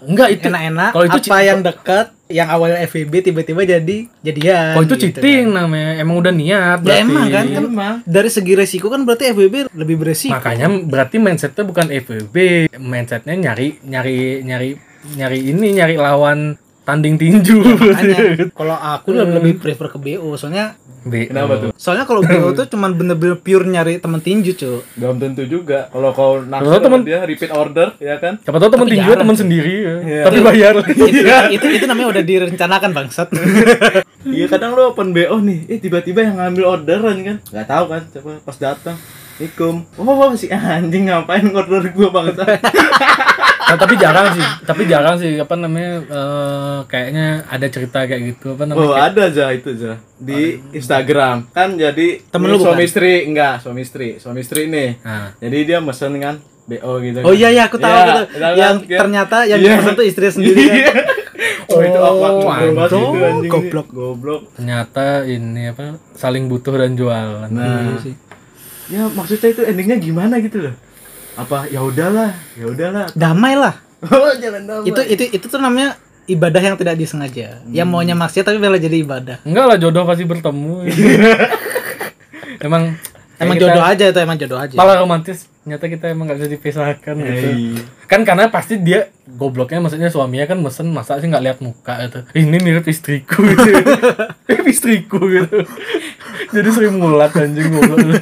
Enggak, itu-
enak-enak.
kalau itu
apa
ci-
yang dekat, yang awalnya FVB tiba-tiba jadi jadian.
oh itu
gitu
cheating namanya emang udah niat
kan. Ya
berarti
emang kan, kan
Emang.
dari segi resiko kan berarti FVB lebih beresiko. kan?
Makanya berarti mindsetnya bukan FWB, mindsetnya nyari nyari nyari nyari ini nyari lawan tanding tinju.
Ya, Makanya kalau aku
Hmm.
lebih prefer ke BO, soalnya
Bi-
kenapa tuh
soalnya kalau BO tuh cuman bener-bener pure nyari temen tinju, cuy.
belum tentu juga kalau kau nafsu
Kalau temen-
sama dia repeat order ya kan
Siapa tahu temen tinju temen sendiri, ya. tapi bayar.
Itu, itu, itu namanya udah direncanakan bangsat.
Iya kadang lu open BO nih, eh tiba-tiba yang ngambil orderan kan, nggak tahu kan, coba pas datang, Assalamualaikum. Oh, si anjing ngapain order gua bangsa?
Nah, tapi jarang sih, tapi jarang sih apa namanya eh, kayaknya ada cerita kayak gitu apa namanya.
oh ada aja itu aja di Instagram kan jadi
Temen
ini
lu Ah.
suami istri enggak suami istri suami istri nih.
Nah.
Jadi dia mesen kan BO gitu.
Oh iya iya aku tahu
Iya,
aku tahu.
tahu kan?
Yang
Iya.
ternyata yang
Iya.
dimaksud tuh istrinya sendiri kan.
Iya. Oh, itu awkward
Oh,
ngobrol banget
anjing.
itu anjing.
Goblok.
Goblok.
Ternyata ini apa saling butuh dan jualan.
Nah,
Iya, sih.
ya maksudnya itu endingnya gimana gitu loh? Apa ya udahlah, ya udahlah.
Damai lah.
Oh, jangan damai.
itu itu itu tuh namanya ibadah yang tidak disengaja
Hmm.
yang maunya maksiat tapi malah jadi ibadah
Enggak lah jodoh pasti bertemu. emang
emang
kayak gitu kita-
jodoh aja itu emang jodoh aja
Malah romantis, nyata kita emang nggak bisa dipisahkan gitu.
Iya.
kan karena pasti dia gobloknya maksudnya suaminya kan mesen masa sih nggak lihat muka gitu ini mirip istriku gitu. mirip istriku gitu jadi sering mulat anjing goblok lu.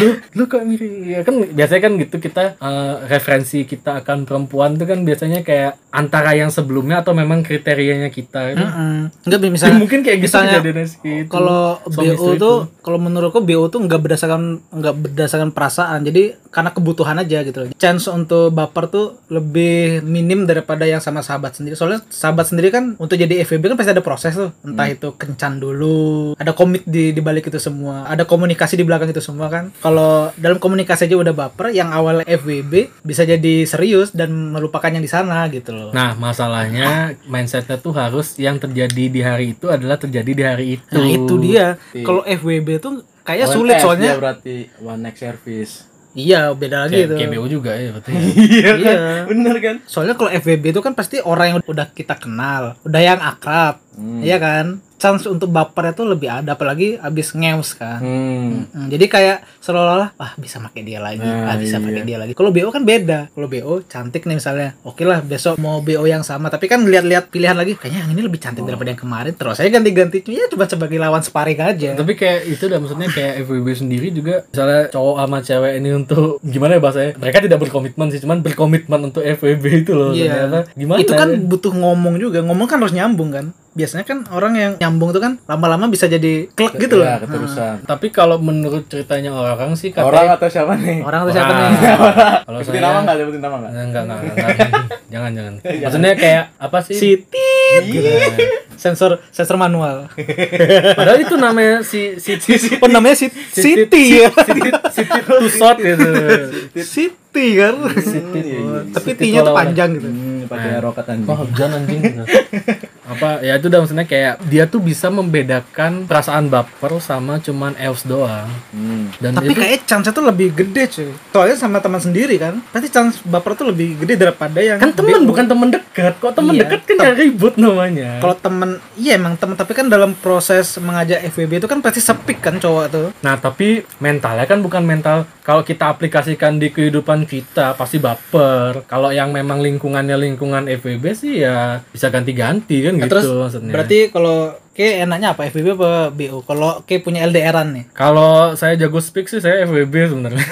Lu lu kok mirip ya kan biasanya kan gitu kita eh, referensi kita akan perempuan tuh kan biasanya kayak antara yang sebelumnya atau memang kriterianya kita. Itu
Hmm. Enggak Nah, misalnya
mungkin kayak gitu
misalnya
kejadiannya sih itu.
kalau BO
Suami istri
tuh kalau menurutku BO tuh nggak berdasarkan nggak berdasarkan perasaan jadi karena kebutuhan aja gitu loh chance untuk baper tuh lebih minim daripada yang sama sahabat sendiri soalnya sahabat sendiri kan untuk jadi FVB kan pasti ada proses tuh
Hmm.
entah itu kencan dulu ada komit di di balik itu semua ada komunikasi di belakang itu semua kan kalau dalam komunikasi aja udah baper yang awal FVB bisa jadi serius dan melupakan yang di sana gitu loh
Nah, masalahnya mindsetnya tuh harus yang terjadi di hari itu adalah terjadi di hari itu.
nah itu dia
Iya.
kalau FWB tuh kayaknya
One
Ya, sulit
X
soalnya
dia berarti one next service.
Iya, beda lagi
Kayak,
itu.
kayak BO juga ya berarti.
Iya
kan?
Bener kan?
Soalnya kalau FWB itu kan pasti orang yang udah kita kenal, udah yang akrab, iya kan? Chance untuk baper itu lebih ada, apalagi abis ngeus kan.
Hmm.
Hmm, jadi kayak seolah-olah, ah bisa pakai dia lagi, ah bisa pakai dia lagi. Kalau BO kan beda. Kalau BO cantik nih misalnya, oke lah besok mau BO yang sama, tapi kan lihat-lihat pilihan lagi, kayaknya yang ini lebih cantik daripada yang kemarin. Terus saya ganti-ganti, ya cuma sebagai lawan sparring aja.
Tapi kayak itu udah maksudnya kayak FWB sendiri juga misalnya cowok sama cewek ini untuk gimana ya bahasanya? Mereka tidak berkomitmen sih, cuman berkomitmen untuk FWB itu loh.
Iya.
ternyata. Gimana?
Itu kan
ya?
butuh ngomong juga. Ngomong kan harus nyambung kan. Biasanya kan orang yang nyambung tuh kan lama-lama bisa jadi klek gitu loh.
Ya, keterusan.
Tapi kalau menurut ceritanya orang sih
Orang
ya.
katanya
atau siapa nih?
Orang tuh siapa
Orang.
nih?
kalau
Sebutin
saya
nama nggak? Iya. Sebutin nama nggak?
Nah, enggak, enggak, enggak, enggak. jangan, jangan. Maksudnya kayak apa sih?
Si tit gitu. sensor sensor manual.
Padahal itu namanya si si si
Oh namanya sit Siti ya.
City to shot gitu.
Siti kan.
Siti.
Tapi T-nya tuh panjang gitu.
Hmm, pakai roket anjing.
Wah hujan anjing gitu. Apa ya itu udah maksudnya kayak dia tuh bisa membedakan perasaan baper sama cuman eos doang.
Hmm.
Dan
Tapi
itu
kayak chance tuh lebih gede cuy. Soalnya sama teman sendiri kan. Pasti chance baper tuh lebih gede daripada yang
kan temen
BO.
bukan temen dekat. Kok temen
Iya.
dekat kan yang ribut namanya.
kalau temen iya emang temen tapi kan dalam proses mengajak FWB itu kan pasti sepik kan cowok tuh
Nah, tapi mentalnya kan bukan mental kalau kita aplikasikan di kehidupan kita pasti baper. Kalau yang memang lingkungannya lingkungan FWB sih ya bisa ganti-ganti kan
Nah,
gitu
terus
maksudnya.
Berarti kalau K enaknya apa? FBB apa BO? Kalau K punya LDRan nih.
kalau saya jago speak sih saya FWB sebenarnya.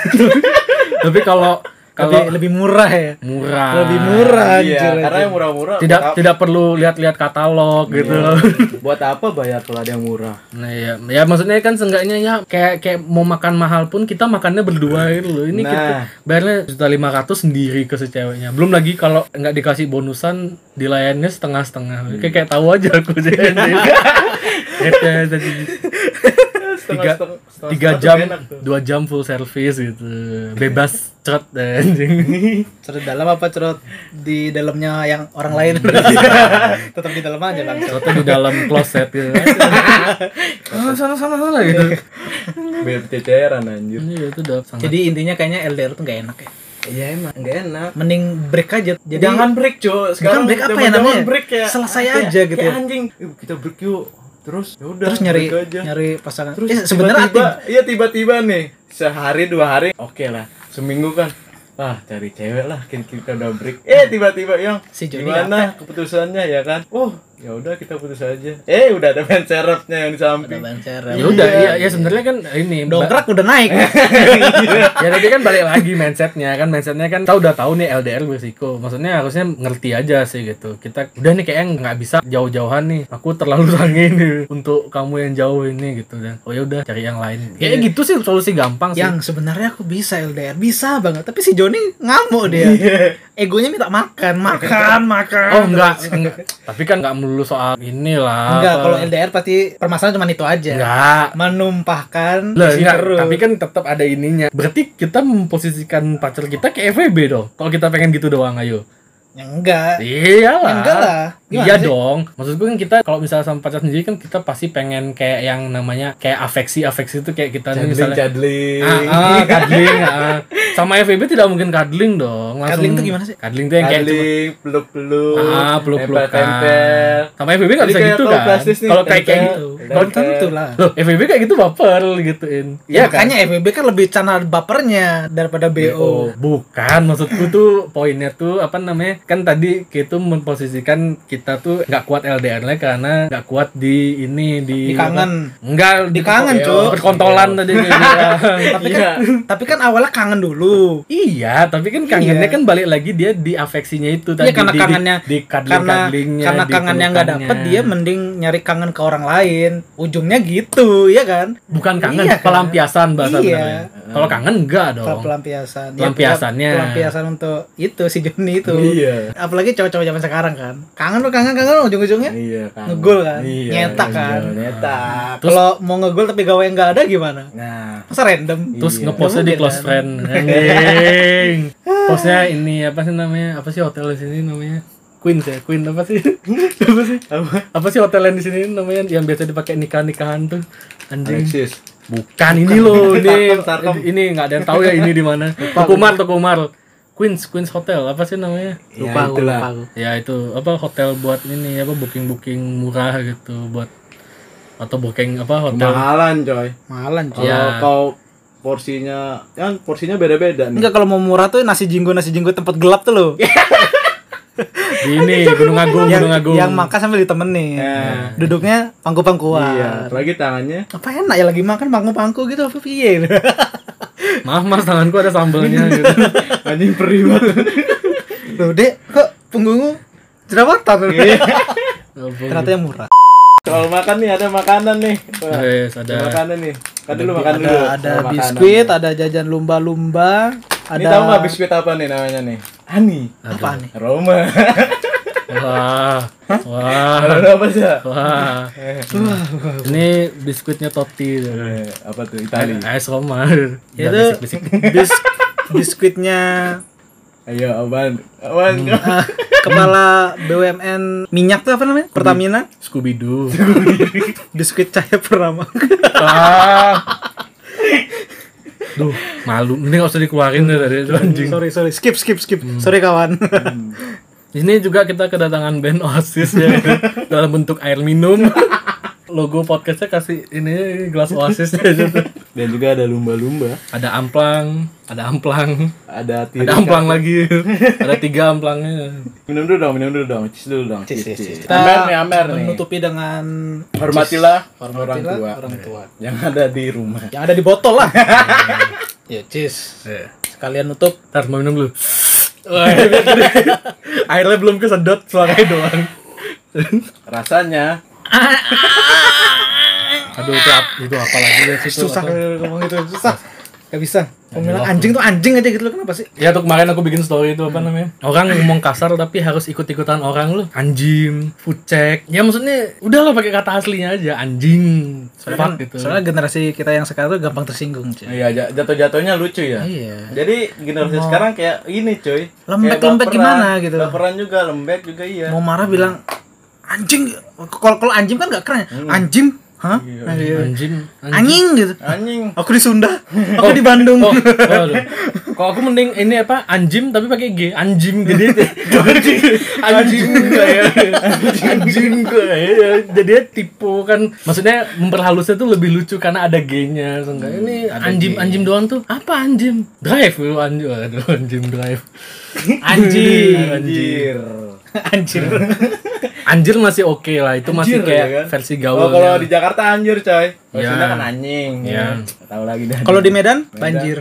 tapi kalau
Lebih,
kalau
lebih murah ya.
murah
Lebih murah
Iya,
anjir.
karena yang murah-murah.
tidak
buat
tidak perlu lihat-lihat katalog gitu loh.
Iya.
ap- buat apa bayar kalau ada yang murah?
Nah ya, ya maksudnya kan seenggaknya ya kayak kayak mau makan mahal pun kita makannya berdua gitu loh. Ini kita
Nah.
bayarnya juta lima ratus sendiri ke si ceweknya. Belum lagi kalau nggak dikasih bonusan dilayannya setengah-setengah. Kayak kayak tahu aja aku sih. Kayak tadi Gitu ya, tiga tiga jam dua jam full service gitu bebas cat anjing
Cerut dalam apa cerut di dalamnya yang orang lain?
Iya.
Tetap di dalam aja bang.
Ternyata di dalam closet gitu Ah, sana sana sana gitu
Beb ceceran anjir.
Iya, itu udah sangat
Jadi intinya kayaknya LDR tuh nggak enak ya.
Iya emang enggak enak.
Mending break aja. Jadi
jangan break, Cok. Sekarang
break apa ya
zaman-zaman
namanya?
Break ya.
Selesai
Kayak-
aja gitu
kayak
ya.
Anjing, Yuk, kita break yuk. Terus ya udah.
terus nyari
break aja.
nyari pasangan.
Terus
Eh, sebenarnya
tiba-tiba,
aktif-
iya tiba-tiba nih sehari dua hari oke lah seminggu kan ah cari cewek lah kita, kita udah break eh tiba-tiba yang
Iya. Si Joni
gimana keputusannya ya kan oh ya udah kita putus aja eh udah ada fan serepnya yang di samping
Lancar.
ya udah ya, ya sebenarnya kan ini Mbak-
Dongkrak udah naik.
ya tapi kan balik lagi mindsetnya kan mindsetnya kan kita udah tahu nih LDR berisiko maksudnya harusnya ngerti aja sih gitu kita udah nih kayaknya nggak bisa jauh-jauhan nih aku terlalu sange nih untuk kamu yang jauh ini gitu dan oh ya udah cari yang lain kayak gitu sih solusi gampang sih
Iya. yang sebenarnya aku bisa LDR bisa banget tapi si Joni ngamuk dia egonya minta makan makan makan
Iya. oh enggak, enggak. tapi kan nggak melulu soal inilah
Enggak,
apa.
kalau LDR pasti permasalahan cuma itu aja.
enggak
Menumpahkan
Lah,
isi
enggak,
perut.
tapi kan tetap ada ininya. Berarti kita memposisikan pacar kita ke FWB dong. Kalau kita pengen gitu doang, ayo.
Ya, enggak.
Iyalah.
Ya, enggak lah. Gimana
iya
sih?
dong. Maksud gue kan kita kalau misalnya sama pacar sendiri kan kita pasti pengen kayak yang namanya kayak afeksi afeksi itu kayak kita nih
cadling
misalnya
cadling
ah, ah, cuddling, ah, ah. Sama FEB tidak mungkin cuddling dong. Langsung,
Cuddling tuh gimana sih?
Cuddling tuh Ah, yang kayak cuma
Kali peluk-peluk,
ah peluk-pelukan.
tempel-tempel.
Sama FEB nggak
Jadi
bisa
kayak
gitu
tau
kan?
plastis nih,
Kalau kayak kayak
tempel.
gitu.
Belum tentu lah.
Loh, FEB kayak gitu baper gituin.
Ya, makanya FBB kan lebih channel bapernya daripada BO.
Oh, bukan maksudku tuh poinnya tuh apa namanya? Kan tadi kita memposisikan kita tuh nggak kuat LDR nya karena nggak kuat di ini di
Di kangen.
Enggak,
Di kangen, Cuk.
Perkontolan tadi kayak gitu. bilang.
Tapi kan tapi kan awalnya kangen dulu.
Iya, tapi kan kangennya
Iya.
kan balik lagi dia di afeksinya itu tadi
Iya karena
di, di-
kangennya
di
karena
cuddling-cuddlingnya,
karena
di
kangennya nggak
pelukannya.
dapet dia mending nyari kangen ke orang lain. Ujungnya gitu, ya kan?
bukan kangen,
Iya, kan?
pelampiasan bahasa
Iya.
benarnya. Kalau kangen enggak
Pel-
dong.
pelampiasan. Ya,
Pelampiasannya.
pelampiasan untuk itu si Joni itu.
Iya.
Apalagi cowok-cowok zaman sekarang kan. Kangen lu kangen kangen lu, ujung-ujungnya
Iya kan.
ngegol kan,
Iya,
nyetak kan.
iya, Nyetak.
Kalau mau ngegol tapi gawe nggak ada gimana?
Nah,
Masa random?
Terus
Iya.
ngepostnya di
Mungkin
close
kan.
friend. Anjing. Postnya ini apa sih namanya? Apa sih hotel di sini namanya? Queen ya, Queen apa sih? apa sih?
Apa?
Apa sih hotel yang di sini namanya yang biasa dipakai nikah-nikahan tuh? Anjing.
Alexis.
Bukan ini loh, ini
Tarkam, tarkam.
ini nggak ada yang tahu ya ini di mana. Tokomar, Tokomar. Queens, Queens Hotel, apa sih namanya?
Lupa aku, lupa aku.
Ya itu apa hotel buat ini apa booking-booking murah gitu buat atau booking apa hotel.
Mahalan coy.
Malan cuy.
Kalau
Iya.
kau porsinya, kan porsinya beda-beda nih.
Enggak kalau mau murah tuh nasi jinggo nasi jinggo tempat gelap tuh loh.
Di ini Gunung Agung,
yang,
Gunung Agung.
yang makan sambil ditemenin.
Nah.
Duduknya pangku-pangkuan.
Iya, lagi tangannya.
Apa enak ya lagi makan pangku-pangku gitu apa piye?
Maaf Mas, tanganku ada sambelnya gitu.
Anjing peribat.
Loh, Dek, kok punggungmu jerawatan?
Iya.
Ternyata yang murah.
Soal makan nih ada makanan nih. Wah,
Yes,
ada
ada.
makanan nih. Kan dulu makan
ada
dulu.
ada
Soal makanan.
biskuit, ada jajan lumba-lumba, ada
Ini tahu nggak biskuit apa nih namanya nih? Ani.
apa nih?
Roma.
Wah. Wah.
Ada apa sih?
Wah. Ini biskuitnya Toti. tuh.
Eh, Apa tuh Itali?
Es Roma.
Itu-
Jangan bisik-bisik.
Bis- biskuitnya
Ayo, apaan? Apaan?
eh, kepala BUMN minyak tuh apa namanya?
Hmm.
Pertamina.
Scooby Doo.
Biskuit cahaya pertama.
Ah. Duh, malu. Ini nggak usah dikeluarin deh dari itu anjing. Hmm.
sorry, sorry. Skip, skip, skip. Sorry kawan.
Di sini juga kita kedatangan band Oasis ya dalam bentuk air minum. Logo podcastnya kasih ini gelas Oasis ya. gitu.
Dan juga ada lumba-lumba.
Ada amplang, ada amplang,
Ada tiri.
ada amplang lagi. Ada tiga amplangnya.
Minum dulu dong, minum dulu dong. Cheers dulu dong. Cheers, cheers.
Kita
Amer nih, amer nih.
menutupi dengan
Hormatilah, orang
Hormatilah
tua.
orang tua.
Yang ada di rumah.
yang ada di botol lah. ya, cheers.
Ya.
Sekalian nutup.
Ntar mau minum dulu. Wah, Airnya belum kesedot suaranya doang.
Rasanya
Aduh itu, ap- itu apa lagi ya situ,
susah
apa?
kalau ngomong itu susah gak bisa Kalau bilang anjing tuh anjing aja gitu loh kenapa sih
Ya tuh kemarin aku bikin story itu apa namanya? Orang ngomong kasar tapi harus ikut-ikutan orang lu. Anjing, fucek. Ya maksudnya udahlah pakai kata aslinya aja anjing.
soalnya,
Fuck gitu.
Kan, soalnya generasi kita yang sekarang tuh gampang tersinggung cuy
iya ja- jatuh-jatuhnya lucu
Oh,
ya.
iya
Jadi generasi sekarang kayak ini cuy.
Lembek-
Kayak
lembek
baperan.
gimana gitu.
Baperan juga, lembek juga iya.
mau marah bilang anjing kalau kalau anjing kan gak keren ya. anjing hah Nah, iya.
Hmm. anjing. anjing.
anjing gitu
Anjing.
aku di Sunda aku di Bandung
Oh, waduh. Kok aku mending ini apa? Anjim tapi pakai G. Anjim jadi anjing. Anjing
ya?
kayak anjing kayak jadi ya? tipu kan. Maksudnya memperhalusnya tuh lebih lucu karena ada G-nya. Seenggaknya
Hmm,
ini anjim anjim doang tuh. Apa anjim? Drive lu anjim. Aduh, anjim drive. Anjing.
Anjir.
anjir
Anjir masih oke lah, itu masih
Anjir,
kayak
ya kan?
versi
Oh,
gaul.
kalau di Jakarta anjir coy. Kalau
Iya.
Sunda kan anjing.
Iya.
Nggak Tahu lagi dah.
kalau di Medan banjir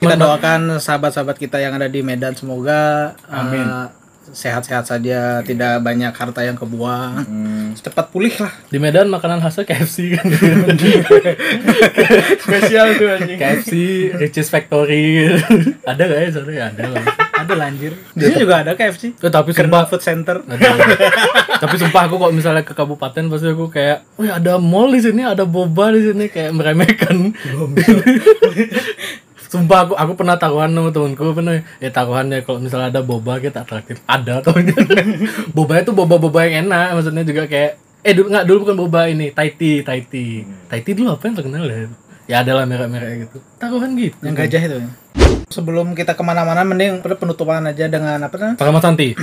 kita doakan sahabat-sahabat kita yang ada di Medan semoga
Amin.
eh, sehat-sehat saja tidak banyak harta yang kebuang cepat pulih lah
Di Medan makanan khasnya KFC kan.
spesial tuh anjing.
KFC, Rich's Factory. ada gak ya? Sorry, ada lah.
ada lah anjir di sini juga ada KFC
Eh, tapi
Kerba
sumpah
Food Center
Aduh. tapi sumpah aku kalau misalnya ke kabupaten pasti aku kayak, "Wih, ada mall di sini, ada boba di sini." Kayak meremehkan. sumpah aku aku pernah taruhan sama temanku pernah ya taruhannya kalau misalnya ada boba kita traktir ada tahunya boba itu boba boba yang enak maksudnya juga kayak eh dulu nggak dulu bukan boba ini Thai tea Thai tea Thai tea dulu apa yang terkenal ya ya adalah merek-merek gitu taruhan gitu
yang gajah itu ya. sebelum kita kemana-mana mending penutupan aja dengan apa namanya
Tanaman santi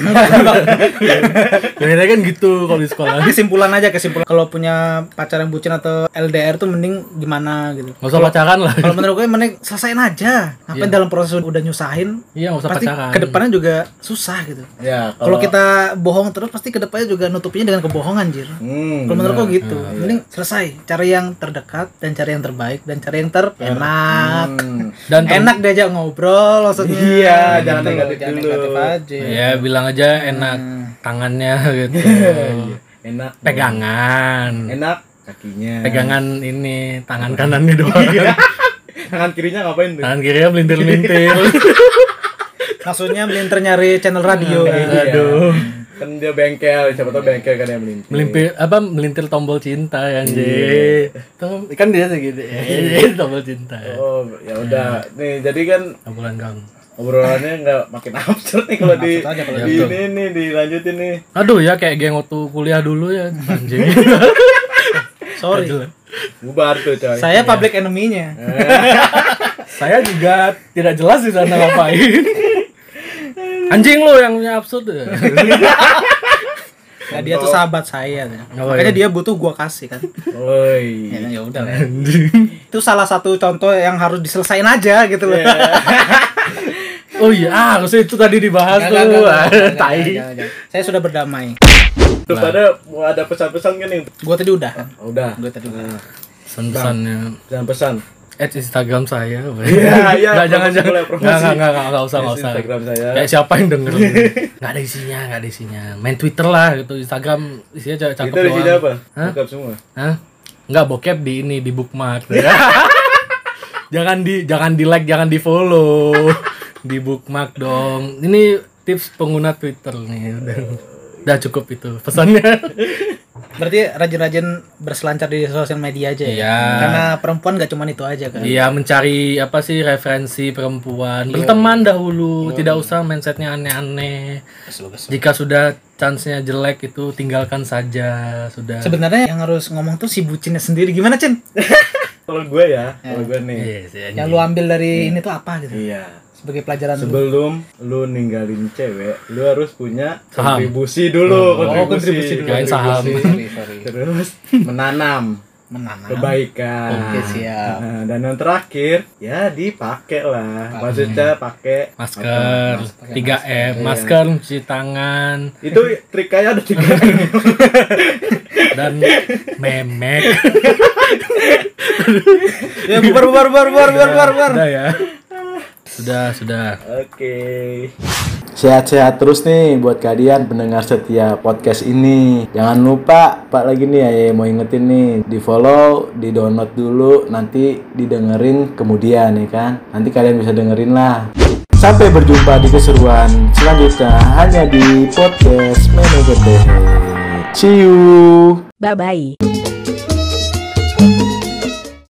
Biasanya kan gitu kalau di sekolah
kesimpulan aja kesimpulan kalau punya pacar yang bucin atau LDR tuh mending gimana gitu
Gak usah pacaran lah
kalau menurut gue mending selesain aja ngapain dalam proses udah nyusahin
Iya gak usah
pasti
pacaran
kedepannya juga susah gitu
Ya,
kalau kita bohong terus pasti kedepannya juga nutupinya dengan kebohongan jir
Hmm. Iya.
kalau menurut gue gitu mending selesai cari yang terdekat dan cari yang terbaik dan cari yang terenak
Hmm.
Dan ter-
enak diajak ngobrol maksudnya
Iya, jangan
Gitu loh,
negatif
jangan
dulu.
negatif aja
Ya bilang aja enak Tangannya gitu
Enak.
Pegangan
Enak kakinya.
Pegangan ini Tangan kanannya doang
Tangan kirinya ngapain tuh?
Tangan kirinya melintir-melintir
maksudnya melintir nyari channel
Hmm.
radio Iya.
Aduh. Kan dia bengkel, siapa tau bengkel kan yang melintir.
Melintir apa melintir tombol cinta ya anjir. Tom- Kan dia gitu. eh, tombol cinta.
Oh, ya udah. Nih, jadi kan
Tambulan gang.
obrolannya nggak makin absurd nih kalau di di
gitu.
ini nih dilanjutin nih.
Aduh ya kayak geng waktu kuliah dulu ya anjing.
sorry
Bubar tuh, coy. Iya. Eh.
saya public enemy-nya
Saya juga tidak jelas di sana ngapain. Anjing lu yang punya absurd. ya.
Nah, dia tuh sahabat saya. ya.
Oh,
Makanya
iya.
dia butuh gua kasih kan.
Woi.
ya ya udah lah. Itu salah satu contoh yang harus diselesain aja gitu loh.
Oh iya, ah, harusnya itu tadi dibahas
Nggak, nggak, nggak, nggak,
tuh.
nggak, nggak,
Tai.
nggak, nggak. Saya sudah berdamai.
Terus
Nah.
ada mau ada pesan-pesan gak nih? Oh,
Gua tadi udah. kan?
Udah. Nah,
Gua tadi udah.
Pesan-pesannya
Jangan pesan.
at Instagram saya.
Iya, iya,
Nggak, jangan
promosi,
jangan.
boleh,
Enggak,
promosi.
enggak, enggak, enggak, enggak usah, enggak usah.
Instagram saya.
Kayak siapa yang denger? Enggak ada isinya, enggak ada isinya. Main Twitter lah gitu, Instagram isinya cakep cakep
Kita di sini
doang.
apa?
Hah?
Lengkap semua.
Hah? Enggak bokep di ini di bookmark. jangan di jangan di like, jangan di follow. di bookmark dong. Ini tips pengguna Twitter nih udah. Udah cukup itu pesannya.
Berarti rajin-rajin berselancar di sosial media aja ya.
Iya.
Karena perempuan gak cuma itu aja kan.
Iya mencari apa sih referensi perempuan berteman dahulu tidak usah mindsetnya aneh-aneh jika sudah chance-nya jelek itu tinggalkan saja sudah
Sebenarnya yang harus ngomong tuh si bucinnya sendiri gimana, Cin?
Kalau gue ya, kalau gue nih.
Yes, ya,
Yang lu ambil dari ini tuh apa gitu
Iya.
sebagai pelajaran lu.
Sebelum lu ninggalin cewek, lu harus punya kontribusi dulu, kontribusi,
Kirain saham
Terus menanam
menanam.
kebaikan.
Ah. Oke, siap.
Nah, dan yang terakhir, ya dipakai lah. Maksudnya pakai
masker Iya. 3 m masker cuci tangan
itu trik kayak ada tiga.
dan memek
Ya bubar bubar bubar bubar bubar bubar. bubar.
sudah ya sudah sudah
Oke.
Sehat-sehat terus nih buat kalian pendengar setia podcast ini. Jangan lupa, Pak lagi nih ya, ya, mau ingetin nih, di follow, di download dulu, nanti didengerin kemudian ya kan. Nanti kalian bisa dengerin lah. Sampai berjumpa di keseruan selanjutnya hanya di podcast Manager Day. See you.
Bye bye.